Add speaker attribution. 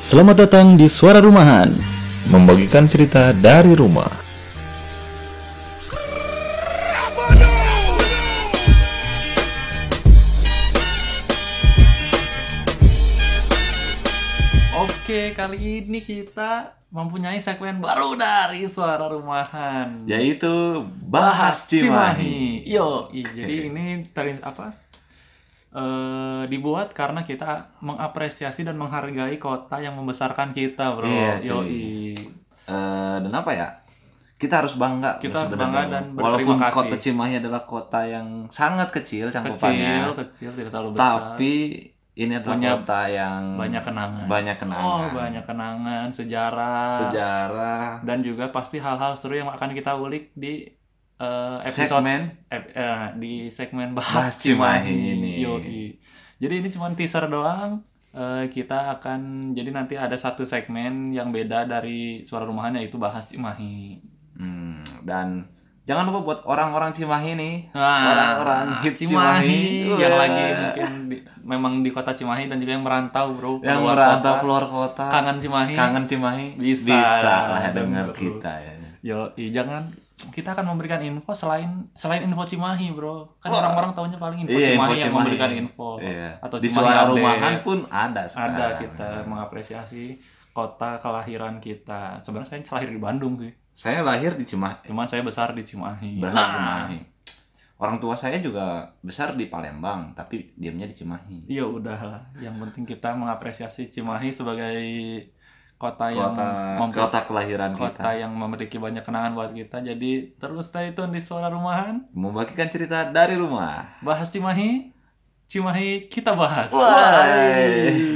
Speaker 1: Selamat datang di Suara Rumahan, membagikan cerita dari rumah.
Speaker 2: Oke, kali ini kita mempunyai segmen baru dari Suara Rumahan.
Speaker 3: yaitu bahas Ya, Cimahi.
Speaker 2: Yo, iya, jadi ini terin apa? eh, dibuat karena kita mengapresiasi dan menghargai kota yang membesarkan kita, Bro.
Speaker 3: Iya, cuy.
Speaker 2: Yoi.
Speaker 3: Eh, dan apa ya? Kita harus bangga.
Speaker 2: Kita harus
Speaker 3: sebenarnya.
Speaker 2: bangga dan berterima
Speaker 3: walaupun
Speaker 2: kasih.
Speaker 3: kota Cimahi adalah kota yang sangat kecil
Speaker 2: Kecil,
Speaker 3: cangkupannya,
Speaker 2: kecil tidak terlalu besar.
Speaker 3: tapi ini adalah
Speaker 2: Punya
Speaker 3: kota yang
Speaker 2: banyak kenangan.
Speaker 3: banyak kenangan.
Speaker 2: Oh, banyak kenangan, sejarah.
Speaker 3: sejarah.
Speaker 2: dan juga pasti hal-hal seru yang akan kita ulik di eh, episode
Speaker 3: Segmen?
Speaker 2: ep- eh, di segmen bahas
Speaker 3: Bahas
Speaker 2: Cimahi,
Speaker 3: Cimahi ini.
Speaker 2: Yoi. Jadi ini cuma teaser doang. Eh, kita akan jadi nanti ada satu segmen yang beda dari suara rumahan yaitu bahas Cimahi.
Speaker 3: Hmm, dan jangan lupa buat orang-orang Cimahi nih.
Speaker 2: Wah,
Speaker 3: Orang-orang hits Cimahi.
Speaker 2: Nah, yang
Speaker 3: Wah.
Speaker 2: lagi mungkin di- memang di kota Cimahi dan juga yang merantau bro
Speaker 3: Yang
Speaker 2: keluar
Speaker 3: merantau
Speaker 2: kota.
Speaker 3: keluar kota,
Speaker 2: kangen Cimahi.
Speaker 3: kangen Cimahi,
Speaker 2: Bisa.
Speaker 3: lah dengar
Speaker 2: Betul.
Speaker 3: kita ya.
Speaker 2: Yo, iya, jangan kita akan memberikan info selain selain info Cimahi, Bro. Kan
Speaker 3: Wah.
Speaker 2: orang-orang tahunya paling info,
Speaker 3: Iya,
Speaker 2: Cimahi,
Speaker 3: info
Speaker 2: yang
Speaker 3: Cimahi.
Speaker 2: memberikan info.
Speaker 3: Iya.
Speaker 2: Oh,
Speaker 3: Ah.
Speaker 2: Atau
Speaker 3: di
Speaker 2: Cimahi
Speaker 3: suara
Speaker 2: update.
Speaker 3: rumahan pun ada sekarang.
Speaker 2: Ada kita mengapresiasi kota kelahiran kita. Sebenarnya saya lahir di Bandung sih.
Speaker 3: Saya lahir di Cimahi,
Speaker 2: Cuman saya besar di Cimahi.
Speaker 3: berharap
Speaker 2: Nah,
Speaker 3: Cimahi. Orang tua saya juga besar di Palembang, tapi diamnya di Cimahi.
Speaker 2: Iya udahlah. Yang penting kita mengapresiasi Cimahi sebagai kota, yang
Speaker 3: Kota,
Speaker 2: memper-
Speaker 3: kota kelahiran
Speaker 2: kota
Speaker 3: kita.
Speaker 2: yang memiliki banyak kenangan buat kita. Jadi terus stay tune di suara rumahan.
Speaker 3: Membagikan cerita dari rumah.
Speaker 2: Bahas Cimahi. Cimahi kita bahas.
Speaker 3: Wah.